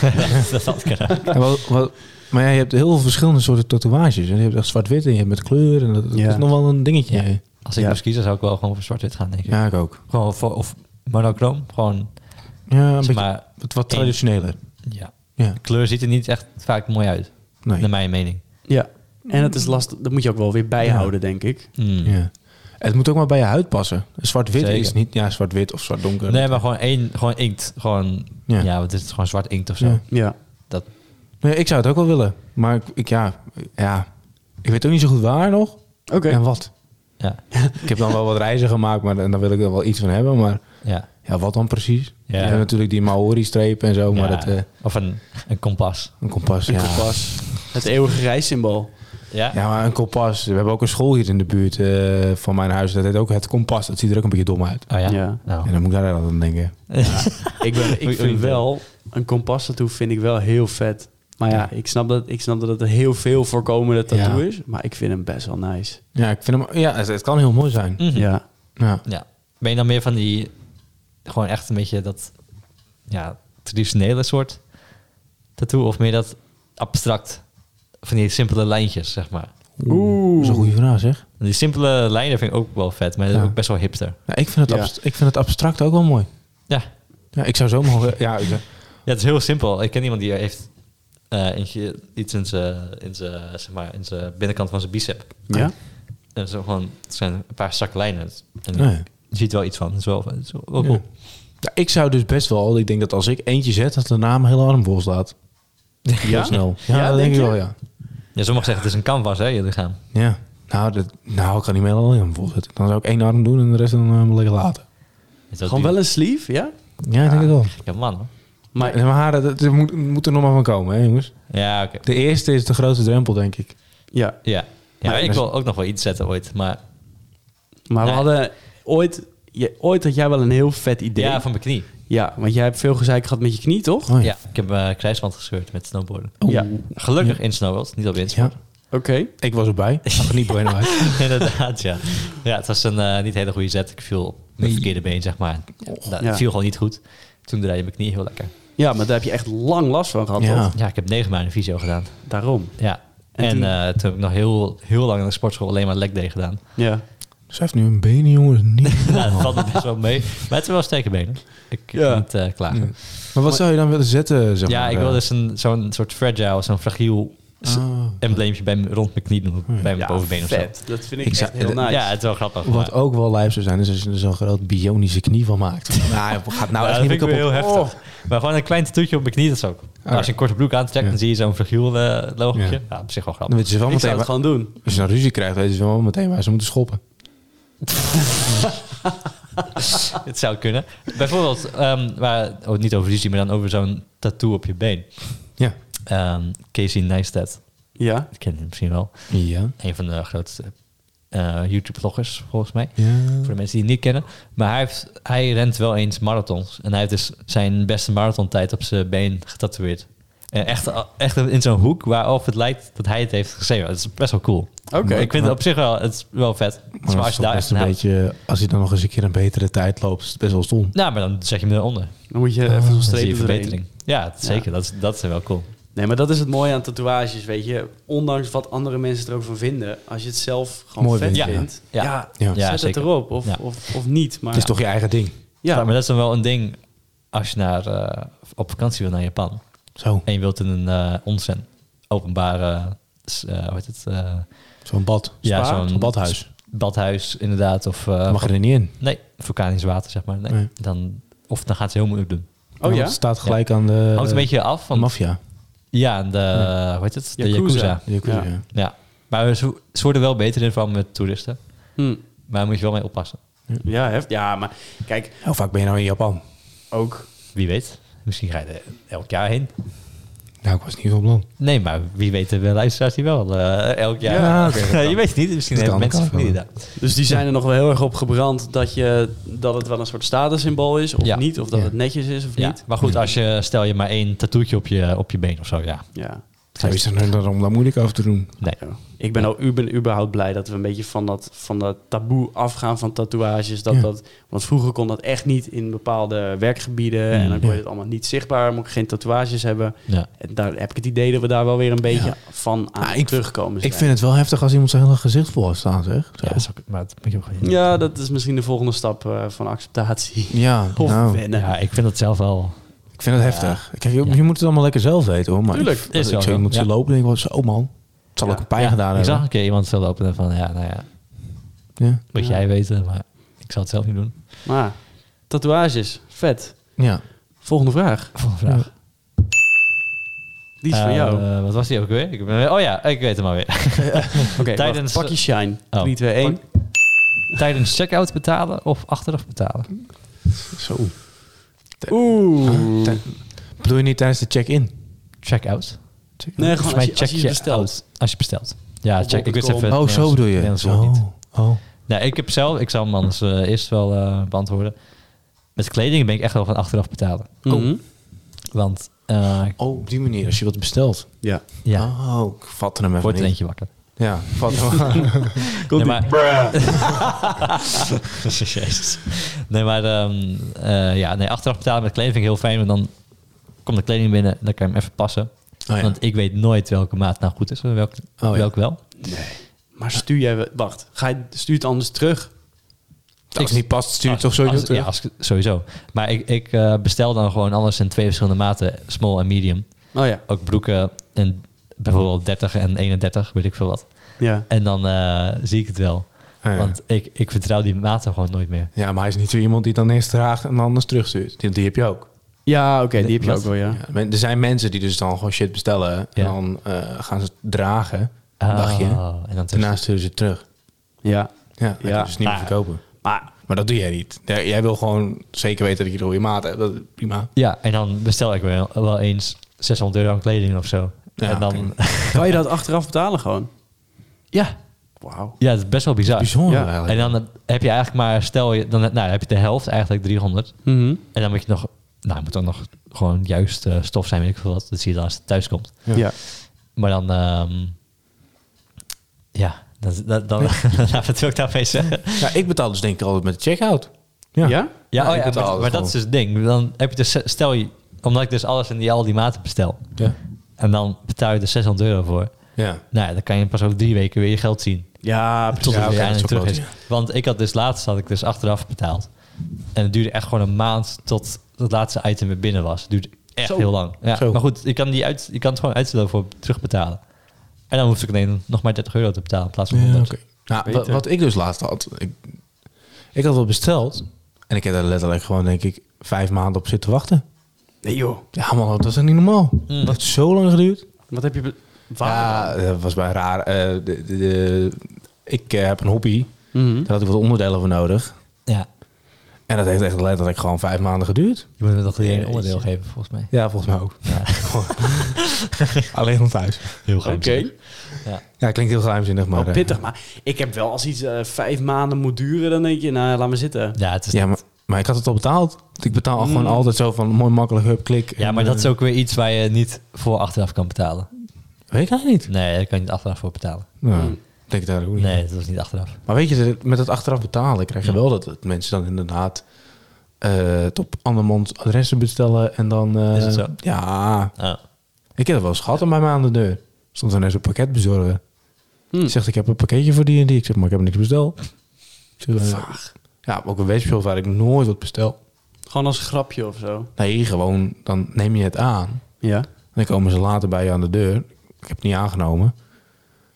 C: dat had ik er-
B: Ja, wat- wat- maar ja, je hebt heel veel verschillende soorten tatoeages. En je hebt echt zwart-wit en je hebt met kleur. En dat, dat
A: Ja.
B: is nog wel een dingetje. Ja,
C: Als ik
A: Ja.
C: moest kiezen, zou ik wel gewoon voor zwart-wit gaan, denk
B: ik
C: ik.
B: ook.
C: Gewoon voor, of monochroom. Gewoon,
B: Ja, een
C: zeg
B: beetje
C: maar,
B: wat, wat traditioneler.
C: ja.
B: Ja,
C: De kleur ziet er niet echt vaak mooi uit,
B: nee.
C: naar mijn mening.
A: Ja. En het is lastig. Dat moet je ook wel weer bijhouden, denk ik.
C: Mm.
B: ja. Het moet ook maar bij je huid passen. Zwart-wit
C: Zeker.
B: is niet ja, zwart-wit of zwart-donker.
C: Nee, maar gewoon, één, gewoon inkt. Gewoon, ja.
B: Ja.
C: wat is het? Gewoon zwart inkt of zo.
B: Ja.
A: Ja.
C: Dat,
B: Nee, ik zou het ook wel willen. Maar ik, ik- ja, ja, ik weet ook niet zo goed waar nog.
A: Oké.
B: En wat.
C: ja.
B: Ik heb dan wel wat reizen gemaakt, maar dan dan wil ik er wel iets van hebben. Maar
C: ja.
B: ja, wat dan precies?
C: Ja.
B: Je hebt natuurlijk die Maori-streep en zo, maar
C: Ja.
B: dat, eh,
C: of een, een kompas.
B: een kompas.
A: Een
B: ja.
A: kompas. Het eeuwige reissymbool.
C: Ja?
B: Ja, maar een kompas. We hebben ook een school hier in de buurt eh, van mijn huis. Dat heet ook het kompas. Dat ziet er ook een beetje dom uit.
C: Oh ja?
A: Ja.
C: Nou.
B: En dan moet ik daar dan aan denken.
A: Ik, ben, ik
C: Oei, oei.
A: vind wel... Een kompas tattoo vind ik wel heel vet. Maar ja, ik snap dat, ik snap dat het een heel veel voorkomende tattoo
B: Ja.
A: is. Maar ik vind hem best wel nice.
B: Ja, ik vind hem, ja het, het kan heel mooi zijn.
A: Ja.
B: Ja.
C: Ja. Ben je dan meer van die... Gewoon echt een beetje dat... Ja, traditionele soort tattoo? Of meer dat abstract? Van die simpele lijntjes, zeg maar.
B: Dat is een goede vraag, zeg.
C: Die simpele lijnen vind ik ook wel vet, maar dat is
B: Ja.
C: ook best wel hipster.
B: Ja, ik, vind het
A: Ja.
B: abst- ik vind het abstract ook wel mooi.
C: Ja.
B: Ja, ik zou zo mogen... Ja, ik-
C: ja, het is heel simpel. Ik ken iemand die heeft eh, eentje- iets in zijn in zijn, zeg maar, in zijn binnenkant van zijn bicep.
A: Ja?
C: En zo gewoon, het zijn een paar strakke lijnen. En
B: nee.
C: Je ziet wel iets van. Het is wel, het is wel wel
B: Oh Ja.
C: cool.
B: Ja, ik zou dus best wel... Ik denk dat als ik eentje zet, dat de naam heel arm vol staat. Heel snel. Ja,
A: Ja,
B: dat
A: denk
B: denk ik
A: je?
B: wel, ja.
C: Ja, sommigen zeggen het is een canvas, hè, je lichaam.
B: Ja. Nou, dat, nou, ik kan niet meer alleen arm vol zetten. Dan zou ik één arm doen en de rest dan eh, lekker laten.
C: Is dat
A: Gewoon
C: duur?
A: wel een sleeve, ja?
B: Ja, ik denk het wel.
C: Ja, man. hoor.
A: Maar,
B: Ja, Maar dat, dat moet, moet er nog maar van komen, hè, jongens.
C: Ja, oké.
B: De eerste is de grootste drempel, denk ik.
A: ja.
C: Ja. ja
B: Maar-
C: ik wil ook nog wel iets zetten ooit, maar...
A: maar we
C: Nee.
A: hadden ooit... Je, ooit had jij wel een heel vet idee.
C: Ja, van mijn knie.
A: Ja, want jij hebt veel gezeik gehad met je knie, toch?
B: Oh,
C: Ja, ik heb eh krijgsband gescheurd met snowboarden.
A: Ja.
C: Gelukkig in snowboard, niet op winst.
B: Ja,
A: Oké.
B: ik was erbij. Ach, niet Bueno uit.
C: Inderdaad, ja. Ja, het was een eh, niet hele goede zet. Ik viel op mijn verkeerde been, zeg maar. Dat
A: Ja.
C: viel gewoon niet goed. Toen draaide mijn knie heel lekker.
A: Ja, maar daar heb je echt lang last van gehad,
B: Ja.
A: toch?
C: Ja, ik heb negen maanden fysio gedaan.
A: Daarom.
C: Ja.
A: En
C: En,
A: toen-
C: eh, toen heb ik nog heel, heel lang in de sportschool alleen maar leg day gedaan.
A: Ja.
B: Ze heeft nu een benen, jongens. Niet
C: Nou, dat valt me best wel mee. Maar het zijn wel sterke benen. Ik
A: Ja.
C: kan niet eh, klagen.
B: Ja. Maar wat zou je dan willen zetten? Zeg
C: Ja,
B: maar,
C: ik wil
B: eh?
C: dus een, zo'n soort fragile, zo'n fragiel s-
B: Ah.
C: embleempje bij, m- rond mijn knie doen. Bij mijn bovenbeen of zo.
A: Hmm. vet. Dat vind ik,
B: Ik
A: echt
B: zou-
A: heel nice.
C: Ja, het is wel grappig.
B: Wat
C: maar-
B: ook wel lijf zou zijn, is als je er zo'n groot bionische knie van maakt. nou, het gaat nou
C: Ja,
B: echt
C: dat
B: niet Oh.
C: vind ik
B: meer
C: weer heel
B: kapot.
C: heftig. Maar gewoon een klein tattoetje op mijn knie, dat is ook. Als je een korte broek aantrekt, dan zie je zo'n fragiel eh logotje. Ja.
B: Oh. Ja.
C: op zich wel
B: Dan
C: grappig.
B: weet je wel
A: ik zou het
B: meteen, waar-
A: gewoon doen.
B: als je een ruzie krijgt, weet je wel meteen waar ze moeten schoppen.
C: Het zou kunnen. Bijvoorbeeld, ehm, maar, oh, niet over ruzie, maar dan over zo'n tattoo op je been.
B: Ja.
C: Ehm, Casey Neistat,
A: Ja.
C: ik ken hem misschien wel.
B: Ja.
C: Een van de grootste eh, YouTube-vloggers, volgens mij.
B: Ja.
C: Voor de mensen die het niet kennen. Maar hij, heeft, hij rent wel eens marathons. En hij heeft dus zijn beste marathontijd op zijn been getatoeëerd. En echt, echt in zo'n hoek waarop het lijkt dat hij het heeft geschreven. Dat is best wel cool.
A: Oké.
C: Maar ik vind het op zich wel, het is wel vet.
B: Maar
C: Maar
B: dat
C: als
B: is
C: je
B: toch
C: daar
B: best
C: echt
B: een
C: een beetje...
B: beetje, als hij dan nog eens een keer een betere tijd loopt, is het best wel stom.
C: Nou, maar dan zet je hem eronder.
A: Dan moet je even zo'n
C: Dan zie je
A: streep erin.
C: verbetering. Ja, het- zeker. Dat, is- dat is wel cool.
A: Nee, maar dat is het mooie aan tatoeages, weet je. Ondanks wat andere mensen er ook van vinden. Als je het zelf gewoon
B: Mooi
A: vet
B: vindt, ja.
A: vindt, ja,
C: Ja. Ja,
A: zet het
C: zeker.
A: erop. Of,
C: Ja.
A: of, of niet. Maar
B: Het is toch je eigen ding.
C: Ja.
A: ja.
C: maar dat is dan wel een ding als je naar, eh, op vakantie wil naar Japan.
B: Zo,
C: En je wilt in een eh onsen, openbare, s- eh hoe heet het? eh,
B: zo'n bad.
C: ja,
A: Spa?
C: zo'n
B: Zo'n badhuis.
C: badhuis inderdaad. Of, Mm. eh,
B: Mag je er niet in.
C: Nee, vulkanisch water, zeg maar. Nee.
B: Nee.
C: Dan, of dan gaat ze heel moeilijk doen.
A: Oh
B: Want
A: ja?
B: Het staat gelijk aan de
C: Hangt een beetje af van...
B: maffia.
C: Ja, en de... Hoe heet het? De
A: Yakuza.
C: Yakuza.
B: De Yakuza,
A: Ja.
B: ja.
C: Ja. Maar ze, ze worden wel beter in, vooral met toeristen.
A: Hm.
C: Maar daar moet je wel mee oppassen.
A: Ja, hef, ja, maar kijk,
B: Hoe vaak ben je nou in Japan?
A: ook...
C: Wie weet. Misschien ga je er elk jaar heen.
B: Nou, ik was niet van plan.
C: Nee, maar wie weet de luisteraars die wel eh, elk jaar.
B: Ja, oké, dat kan.
C: je weet het niet. Misschien
B: Dat
C: hebben
B: kan,
C: mensen
B: kan
C: familie
B: wel.
C: daar.
A: Dus die zijn er nog wel heel erg op gebrand dat, je, dat het wel een soort statussymbool is. Of
C: Ja.
A: niet. Of dat
B: Ja.
A: het netjes is of
C: Ja,
A: niet.
C: maar goed, als je, stel je maar één tattoetje op je, op je been of zo, ja.
A: Ja.
B: Zou je zeggen, nou, om daar moeilijk over te doen?
C: Nee.
A: Ja. Ik ben al u ben überhaupt blij dat we een beetje van dat, van dat taboe afgaan van tatoeages. Dat
B: Ja.
A: dat, want vroeger kon dat echt niet in bepaalde werkgebieden. En
B: Mm.
A: dan kon je het allemaal niet zichtbaar, moet ik geen tatoeages hebben.
C: Ja.
A: En daar heb ik het idee dat we daar wel weer een beetje van aan
B: Ah, ik-
A: terugkomen.
B: Ik
A: zijn.
B: vind het wel heftig als iemand zijn hele gezicht vol heeft staan, zeg. Zo.
C: Ja, dat is ook- maar dat moet je ook gewoon niet doen.
A: Ja, dat is misschien de volgende stap eh, van acceptatie.
B: Ja,
C: Oh,
A: Of
B: nou,
A: wennen.
C: ja, ik vind dat zelf wel...
B: ik vind het heftig. Kijk, je, je moet het allemaal lekker zelf weten, hoor. Maar
A: Tuurlijk,
B: ik,
C: is
B: als
C: wel
B: ik zo
C: zo.
B: iemand
C: Ja.
B: zie lopen, denk ik wel, zo man. Het zal
A: Ja.
B: ook een pijn
C: Ja,
B: gedaan
C: Ik
B: hebben.
C: zag een keer iemand zo lopen en van, ja, nou ja,
B: Ja.
C: moet
A: Ja.
C: jij weten, maar ik zal het zelf niet doen.
A: Maar tatoeages, vet.
B: ja.
A: Volgende vraag.
C: Volgende vraag.
A: Die is van
C: Eh,
A: jou.
C: wat was die ook weer? Ik ben, oh ja, ik weet hem alweer.
A: Oké,
C: tijdens-
A: wacht, pak je shine.
C: Oh.
A: 3, 2, 1.
C: Tijdens checkout betalen of achteraf betalen?
B: Zo.
A: Oeh. Ah,
B: Tij- Bedoel je niet tijdens de check-in?
C: Checkout.
B: Check-in?
A: Nee, gewoon als
C: Volgens mij
A: je, als
C: check
A: je
C: je,
A: het bestelt.
C: out als je bestelt. Ja,
A: Op
C: check. Ik wist
A: bol.com.
C: even.
B: oh, zo bedoel je.
C: Zo.
B: Zo.
C: Niet.
B: Oh.
C: Nou, ik heb zelf, ik zal hem anders eh, eerst wel eh, beantwoorden. Met kleding ben ik echt wel van achteraf betalen.
A: Mhm.
C: Want Eh,
B: Oh, op die manier, als je wat bestelt.
A: Ja.
C: ja,
B: Oh, ik vatte hem even
C: wordt er
B: niet.
C: eentje wakker.
B: Ja, vatte hem Oh, aan.
A: Komt-ie.
C: Nee, Jezus. Nee, maar ehm, eh, ja, nee, achteraf betalen met kleding vind ik heel fijn. Want dan komt de kleding binnen en dan kan je hem even passen.
B: Oh ja. Oh,
C: Want ik weet nooit welke maat nou goed is en welke,
B: ja.
C: welke wel.
A: Maar stuur jij... wel- Wacht, ga je, stuur het anders terug?
B: Als het niet past, stuur je
C: Als-
B: toch sowieso
C: als-
B: terug?
C: Ja, als, sowieso. Maar ik, ik eh, bestel dan gewoon alles in twee verschillende maten. Small en medium.
A: Oh ja.
C: Ook broeken en
B: Oh.
C: bijvoorbeeld 30 en 31, weet ik veel wat.
A: Ja.
C: En dan eh, zie ik het wel.
B: Ah, ja.
C: Want ik, ik vertrouw die maten gewoon nooit meer.
B: Ja, maar hij is niet zo iemand die dan eerst draagt en anders terugstuurt. Die, die heb je ook.
A: Ja, oké, die heb je
C: Wat?
A: ook wel, ja.
B: Ja, men- er zijn mensen die dus dan gewoon shit bestellen. En
C: Ja.
B: dan eh, gaan ze het dragen, een
C: Oh,
B: dagje.
C: en dan terug.
B: Daarna sturen ze het terug.
A: Ja.
B: Ja, dan
A: Ja.
B: kunnen ze het niet meer
C: Ah.
B: verkopen.
A: Maar
B: Maar dat doe jij niet. Ja, Jij wil gewoon zeker weten dat je de goede maat hebt. Dat, prima.
C: Ja, en dan bestel ik wel, wel eens 600 euro aan kleding of zo.
B: Ja,
C: en dan,
B: oké.
A: kan je dat achteraf betalen gewoon?
C: ja,
A: Wauw.
C: ja, dat is best wel bizar.
B: Bijzonder
A: Ja.
B: eigenlijk.
C: En dan heb je eigenlijk maar, stel je, dan, nou, dan heb je de helft eigenlijk 300.
A: Mhm.
C: En dan moet je nog, nou, moet dan nog gewoon juist eh, stof zijn, weet ik veel wat. Dat zie je dan als het thuis komt.
A: ja.
C: Maar dan, ehm, ja, dat, dat, dan, wat wil ik daarmee zeggen?
B: Ja, ik betaal dus denk ik altijd met de checkout.
A: Ja?
C: Ja, oh
B: ik betaal
C: ja maar,
B: het
C: maar dat
B: gewoon.
C: is dus het ding. Dan heb je dus, stel je, omdat ik dus alles in die, al die maten bestel.
B: Ja.
C: En dan betaal je er 600 euro voor.
B: Ja.
C: Nou ja, dan kan je pas over drie weken weer je geld zien.
A: Ja,
C: Tot
A: precies.
B: Ja,
C: het
B: oké,
C: weer
B: dat is
C: eindelijk
B: ook
C: terug is.
B: wel
C: Want ik had dus laatst, had ik dus achteraf betaald. En het duurde echt gewoon een maand tot het laatste item weer binnen was. Het duurde echt
A: Zo.
C: heel lang. Ja,
B: Zo.
C: maar goed, je kan, die uit, je kan het gewoon uitstellen voor terugbetalen. En dan hoef ik alleen nog maar 30 euro te betalen in plaats van 100.
B: oké. Nou, wa- wat ik dus laatst had. Ik, ik had wat besteld. En ik heb daar letterlijk gewoon denk ik vijf maanden op zitten wachten.
A: Nee joh.
B: Ja man, dat is echt niet normaal. Dat heeft zo lang geduurd.
A: Wat heb je... be- Waar?
B: Ja, dat was bij raar. eh, de, de, de- ik eh, heb een hobby.
A: Mhm.
B: Daar had ik wat onderdelen voor nodig.
C: Ja,
B: En dat heeft echt letterlijk gewoon vijf maanden geduurd.
C: je moet me nog
B: Jeetje.
C: een onderdeel geven volgens mij.
B: Ja, volgens mij ook. Alleen om thuis.
C: Heel
A: Oké.
C: Ja.
B: Ja, klinkt heel geheimzinnig, maar...
A: Wel
B: eh,
A: pittig, maar ik heb wel als iets eh, vijf maanden moet duren, dan denk je, nou, laat maar zitten.
C: ja, het is
B: ja, maar, maar ik had het al betaald. Ik betaal gewoon altijd zo van mooi makkelijk, hup, klik.
C: Ja,
B: En,
C: maar dat is
B: eh,
C: ook weer iets waar je niet voor achteraf kan betalen.
B: Weet ik eigenlijk niet.
C: Nee, daar kan je niet achteraf voor betalen.
B: Nou, ik denk daar ook niet.
C: Nee, dat was niet achteraf.
B: Maar weet je, de- met het achteraf betalen krijg je wel dat het mensen dan inderdaad eh top andermans adressen bestellen en dan... eh,
C: Is het zo?
B: Ja,
C: Ah.
B: ik heb dat wel eens gehad bij mij aan de deur. Stond er net zo'n pakket bezorgen.
A: Hm.
B: Zegt, ik heb een pakketje voor die en die. Ik zeg, maar ik heb niks besteld. Ik zeg, eh, ja, ook een webshop waar ik nooit wat bestel.
A: Gewoon als grapje of zo.
B: Nee, gewoon, dan neem je het aan.
A: Ja.
B: En dan komen ze later bij je aan de deur. Ik heb het niet aangenomen.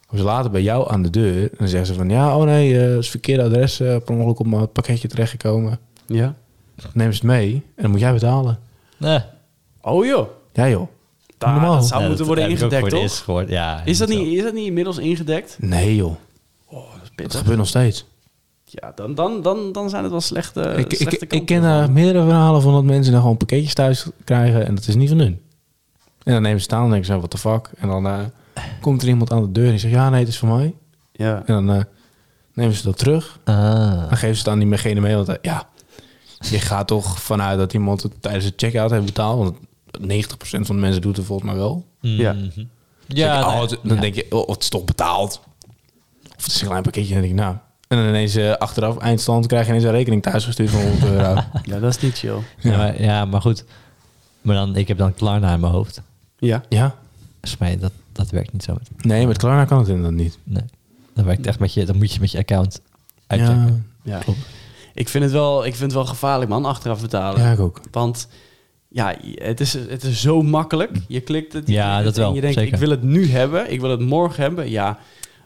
B: Komen ze later bij jou aan de deur. En dan zeggen ze van... Ja, oh nee, eh, het is verkeerde adres. eh, per ongeluk op mijn pakketje terechtgekomen.
A: Ja.
B: Dan nemen ze het mee. En dan moet jij betalen.
C: Nee.
A: Oh joh.
B: Ja joh.
A: Daar,
B: Normaal.
A: Dat zou
C: Ja,
A: moeten
C: dat
A: worden
C: heb ik ook
A: ingedekt,
C: voor het
A: toch?
C: eerst gehoord. Ja,
A: Is dat,
C: wel.
A: niet, is dat niet inmiddels ingedekt?
B: Nee joh.
A: Oh, dat is
B: Dat
A: pittig.
B: gebeurt nog steeds.
A: Ja, dan, dan, dan, dan zijn het wel slechte
B: ik, ik,
A: Eh, slechte
B: ik ken
A: kanten.
B: daar meerdere verhalen van dat mensen dan gewoon pakketjes thuis krijgen. En dat is niet van hun. En dan nemen ze het aan en denken ze... What the fuck? En dan eh, komt er iemand aan de deur. En die zegt... Ja, nee, het is van mij.
A: Ja.
B: En dan eh, nemen ze dat terug.
C: Ah.
B: Dan geven ze het aan diegene mee. Want eh, ja, je gaat toch vanuit dat iemand het tijdens het checkout heeft betaald. Want 90% van de mensen doet het volgens mij wel.
A: Ja.
C: Mhm.
B: Dan
C: Ja,
B: denk ik,
C: nee.
B: oh, het- dan
C: Ja.
B: denk je, oh, het is toch betaald. Of het is een klein pakketje. Dan denk ik, nou. En dan ineens eh, achteraf, eindstand, krijg je ineens een rekening thuisgestuurd van 100 euro.
A: ja, dat is niet chill.
C: Ja, maar, ja, maar goed. Maar dan, ik heb dan Klarna in mijn hoofd.
A: Ja.
B: ja.
C: Volgens mij, dat, dat werkt niet zo. Met,
B: Nee, met Klarna kan het inderdaad niet.
C: nee. Dat werkt echt met je, dan moet je met je account uitchecken.
B: Ja,
A: ja.
C: Klopt.
A: Ik, vind het wel, ik vind het wel gevaarlijk, man, achteraf betalen.
B: ja, ik ook.
A: Want ja, het is, het is zo makkelijk. Je klikt het. je
C: Ja,
A: klikt het
C: dat wel,
A: En je denkt,
C: zeker.
A: ik wil het nu hebben. Ik wil het morgen hebben. Ja,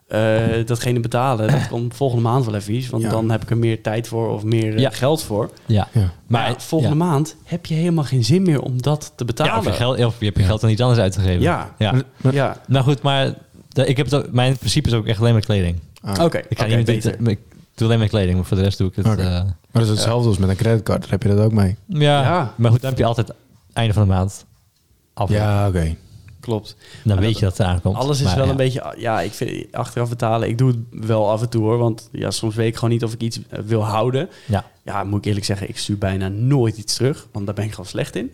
A: eh, datgene betalen. Dat komt volgende maand wel even iets. Want
B: Ja.
A: dan heb ik er meer tijd voor of meer eh,
C: Ja.
A: geld voor.
C: Ja.
B: Ja.
A: Maar
C: Maar
A: volgende
C: ja.
A: maand heb je helemaal geen zin meer om dat te betalen.
C: Ja, of je, geld, of je hebt je geld aan iets anders uitgegeven.
A: Ja.
C: ja.
A: Ja.
C: Nou goed, maar de- ik heb het ook, mijn principe is ook echt alleen maar kleding.
B: Ah.
A: Oké,
C: Ik, ga
A: oké,
C: niet met,
A: beter.
C: ik doe alleen maar kleding, maar voor de rest doe ik het.
B: Oké.
C: eh,
B: Maar dat is hetzelfde als met een creditcard. Daar heb je dat ook mee.
C: ja.
A: Ja.
C: maar goed, dan heb je altijd einde van de maand af.
B: Ja, oké.
A: klopt.
C: Dan
A: Maar
C: weet je dat het eraan komt.
A: Alles is
C: Maar
A: wel
C: ja.
A: een beetje, ja, ik vind achteraf betalen, ik doe het wel af en toe hoor, want ja, soms weet ik gewoon niet of ik iets eh, wil houden.
C: Ja.
A: Ja, moet ik eerlijk zeggen, ik stuur bijna nooit iets terug, want daar ben ik gewoon slecht in.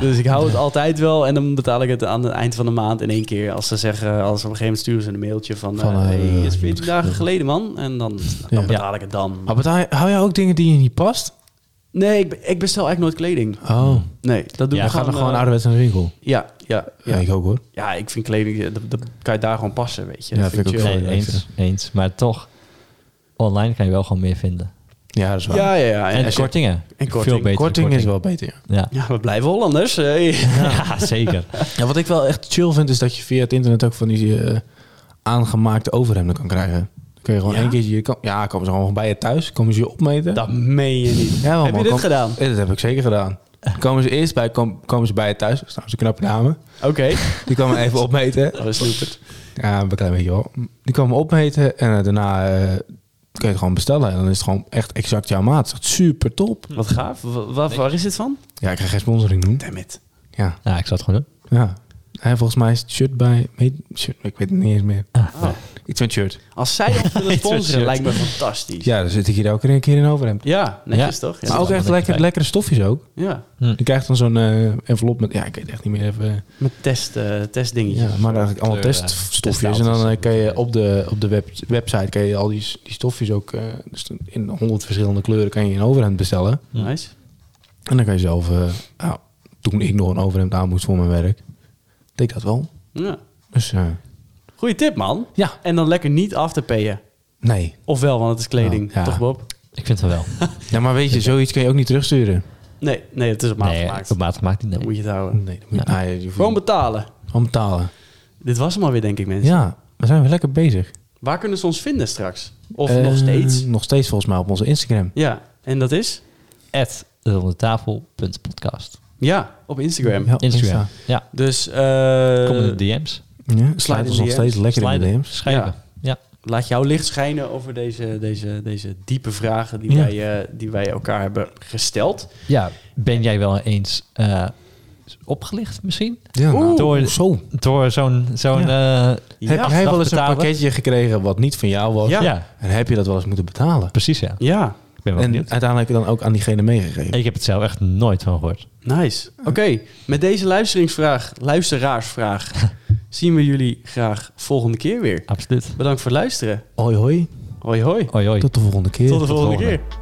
A: dus ik hou het altijd wel en dan betaal ik het aan het eind van de maand in één keer. Als ze zeggen, als op een gegeven moment sturen ze een mailtje van,
B: Van,
A: eh,
B: eh,
A: hey,
B: je
A: is
B: moet
A: 14 dagen
B: terug.
A: geleden man, en dan, dan
B: Ja.
A: betaal ik het dan.
B: Maar betaal je- hou jij ook dingen die je niet past?
A: Nee, ik, be- ik bestel eigenlijk nooit kleding.
B: Oh,
A: Nee, dat doe
C: Ja,
A: ik
B: dan gaat dan
A: eh,
B: gewoon ouderwets naar de winkel.
A: Ja, ja,
B: Ja,
A: ja.
B: ik ook hoor.
A: Ja, ik vind kleding, eh, dat, dat kan je daar gewoon passen, weet je.
B: Ja,
A: Dat
B: vind ik ook
A: chill.
B: wel.
C: Nee,
B: Ja, ik
C: eens, eens. Maar toch, online kan je wel gewoon meer vinden.
B: Ja, dat is waar.
A: Ja, ja, ja.
C: En,
A: als je-
C: kortingen.
A: en korting.
C: Veel beter.
B: korting, is wel beter, ja.
C: Ja.
A: Ja, we blijven Hollanders. Hey.
C: ja, zeker.
B: Ja, wat ik wel echt chill vind, is dat je via het internet ook van die eh, aangemaakte overhemden kan krijgen. Dan kun je gewoon
A: Ja?
B: één keertje... je Kan, ja, komen ze gewoon bij je thuis, komen ze je opmeten.
A: Dat meen je niet.
B: ja, wel,
A: Heb je
B: man,
A: dit
B: kom-
A: gedaan?
B: Ja, dat heb ik zeker gedaan. Dan Komen ze eerst bij, kom- komen ze bij je thuis. Dat is trouwens een knappe dame.
A: Oké.
B: Die kwam me even opmeten.
A: Dat is snoepert.
B: Ja, een klein beetje wel. Die kwam me opmeten en eh, daarna eh, kun je het gewoon bestellen. En dan is het gewoon echt exact jouw maat. Dat is echt super top.
A: Wat gaaf. Wa- wa- waar is dit van?
B: Ja, ik ga geen sponsoring doen.
A: Damn it.
B: Ja,
C: Ja, Nou, ik zou het gewoon doen.
B: ja. En volgens mij is het shirt bij... weet- shirt, ik weet het niet eens meer.
C: Ah.
A: Oh.
B: Iets met shirt.
A: Als zij dat willen sponsoren,
C: shirt.
A: lijkt me fantastisch. Ja,
B: Ja, dan zit ik hier ook een keer in overhemd.
A: netjes
C: Ja.
A: toch?
C: Ja.
A: Ja.
B: maar ook
C: wel
B: echt
C: een
B: lekker,
C: bij.
B: lekkere stofjes ook.
A: Ja.
B: Je krijgt dan zo'n eh, envelop met... Ja, ik weet echt niet meer even...
A: Met test, eh, testdingetjes.
B: Ja, maar eigenlijk allemaal
C: Kleur, eh,
B: teststofjes. En
C: testaaltjes.
B: dan eh, kan je op de, op de web, website kan je al die, s- die stofjes ook... eh, dus in honderd verschillende kleuren kan je een overhemd bestellen.
C: Ja.
A: Nice.
B: En dan kan je zelf... eh, nou, toen ik nog een overhemd aan moest voor mijn werk, deed ik dat wel.
A: Ja.
B: Dus eh,
A: Goeie tip, man.
B: ja,
A: En dan lekker niet afterpayen.
B: nee.
A: Ofwel, want het is kleding.
B: Ja, ja.
A: Toch, Bob?
C: Ik vind het wel.
B: Ja, maar weet je, zoiets kan je ook niet terugsturen.
A: Nee, nee, het is op maat
C: nee,
A: gemaakt.
C: op maat gemaakt niet.
A: Dan
C: Nee.
A: moet je het houden.
B: Nee, dat moet je,
C: Ja.
B: nou, je hoeft
A: Gewoon betalen.
B: gewoon betalen.
A: Dit was hem alweer, denk ik, mensen.
B: Ja, we zijn weer lekker bezig.
A: Waar kunnen ze ons vinden straks? Of
B: Eh,
A: nog steeds?
B: Nog steeds volgens mij op onze Instagram.
A: Ja, en dat is?
C: At rondetafel.podcast.
A: Oh, Ja, op Instagram.
B: Ja,
C: Instagram.
B: Insta.
C: Ja.
A: Dus eh,
C: Kom in de DM's.
B: Ja,
A: Slide
B: slide
A: in
B: ons
A: de
B: nog steeds
A: DM's.
B: lekker in de
C: Sliden.
B: DM's.
C: Schrijven. Ja.
A: laat jouw licht schijnen over deze, deze, deze diepe vragen die,
B: Ja.
A: wij, eh, die wij elkaar hebben gesteld.
C: ja. Ben jij wel eens eh, opgelicht misschien?
B: Ja,
A: Oeh.
C: Door-
B: zo.
C: Door zo'n... zo'n eh,
B: Heb
A: Ja,
B: jij wel eens een
C: betalen?
B: pakketje gekregen wat niet van jou was?
A: Ja.
C: ja.
B: En heb je dat wel eens moeten betalen?
C: precies ja.
A: ja,
C: Ik ben wel
B: En
C: benieuwd.
B: uiteindelijk dan ook aan diegene meegegeven.
C: Ik heb het zelf echt nooit van gehoord.
A: nice. Oké, met deze luisteringsvraag, luisteraarsvraag, zien we jullie graag volgende keer weer.
C: Absoluut.
A: Bedankt voor het luisteren.
B: Hoi hoi,
A: Hoi hoi.
C: Hoi hoi.
B: tot de volgende keer.
A: Tot de volgende
C: volgende.
A: keer.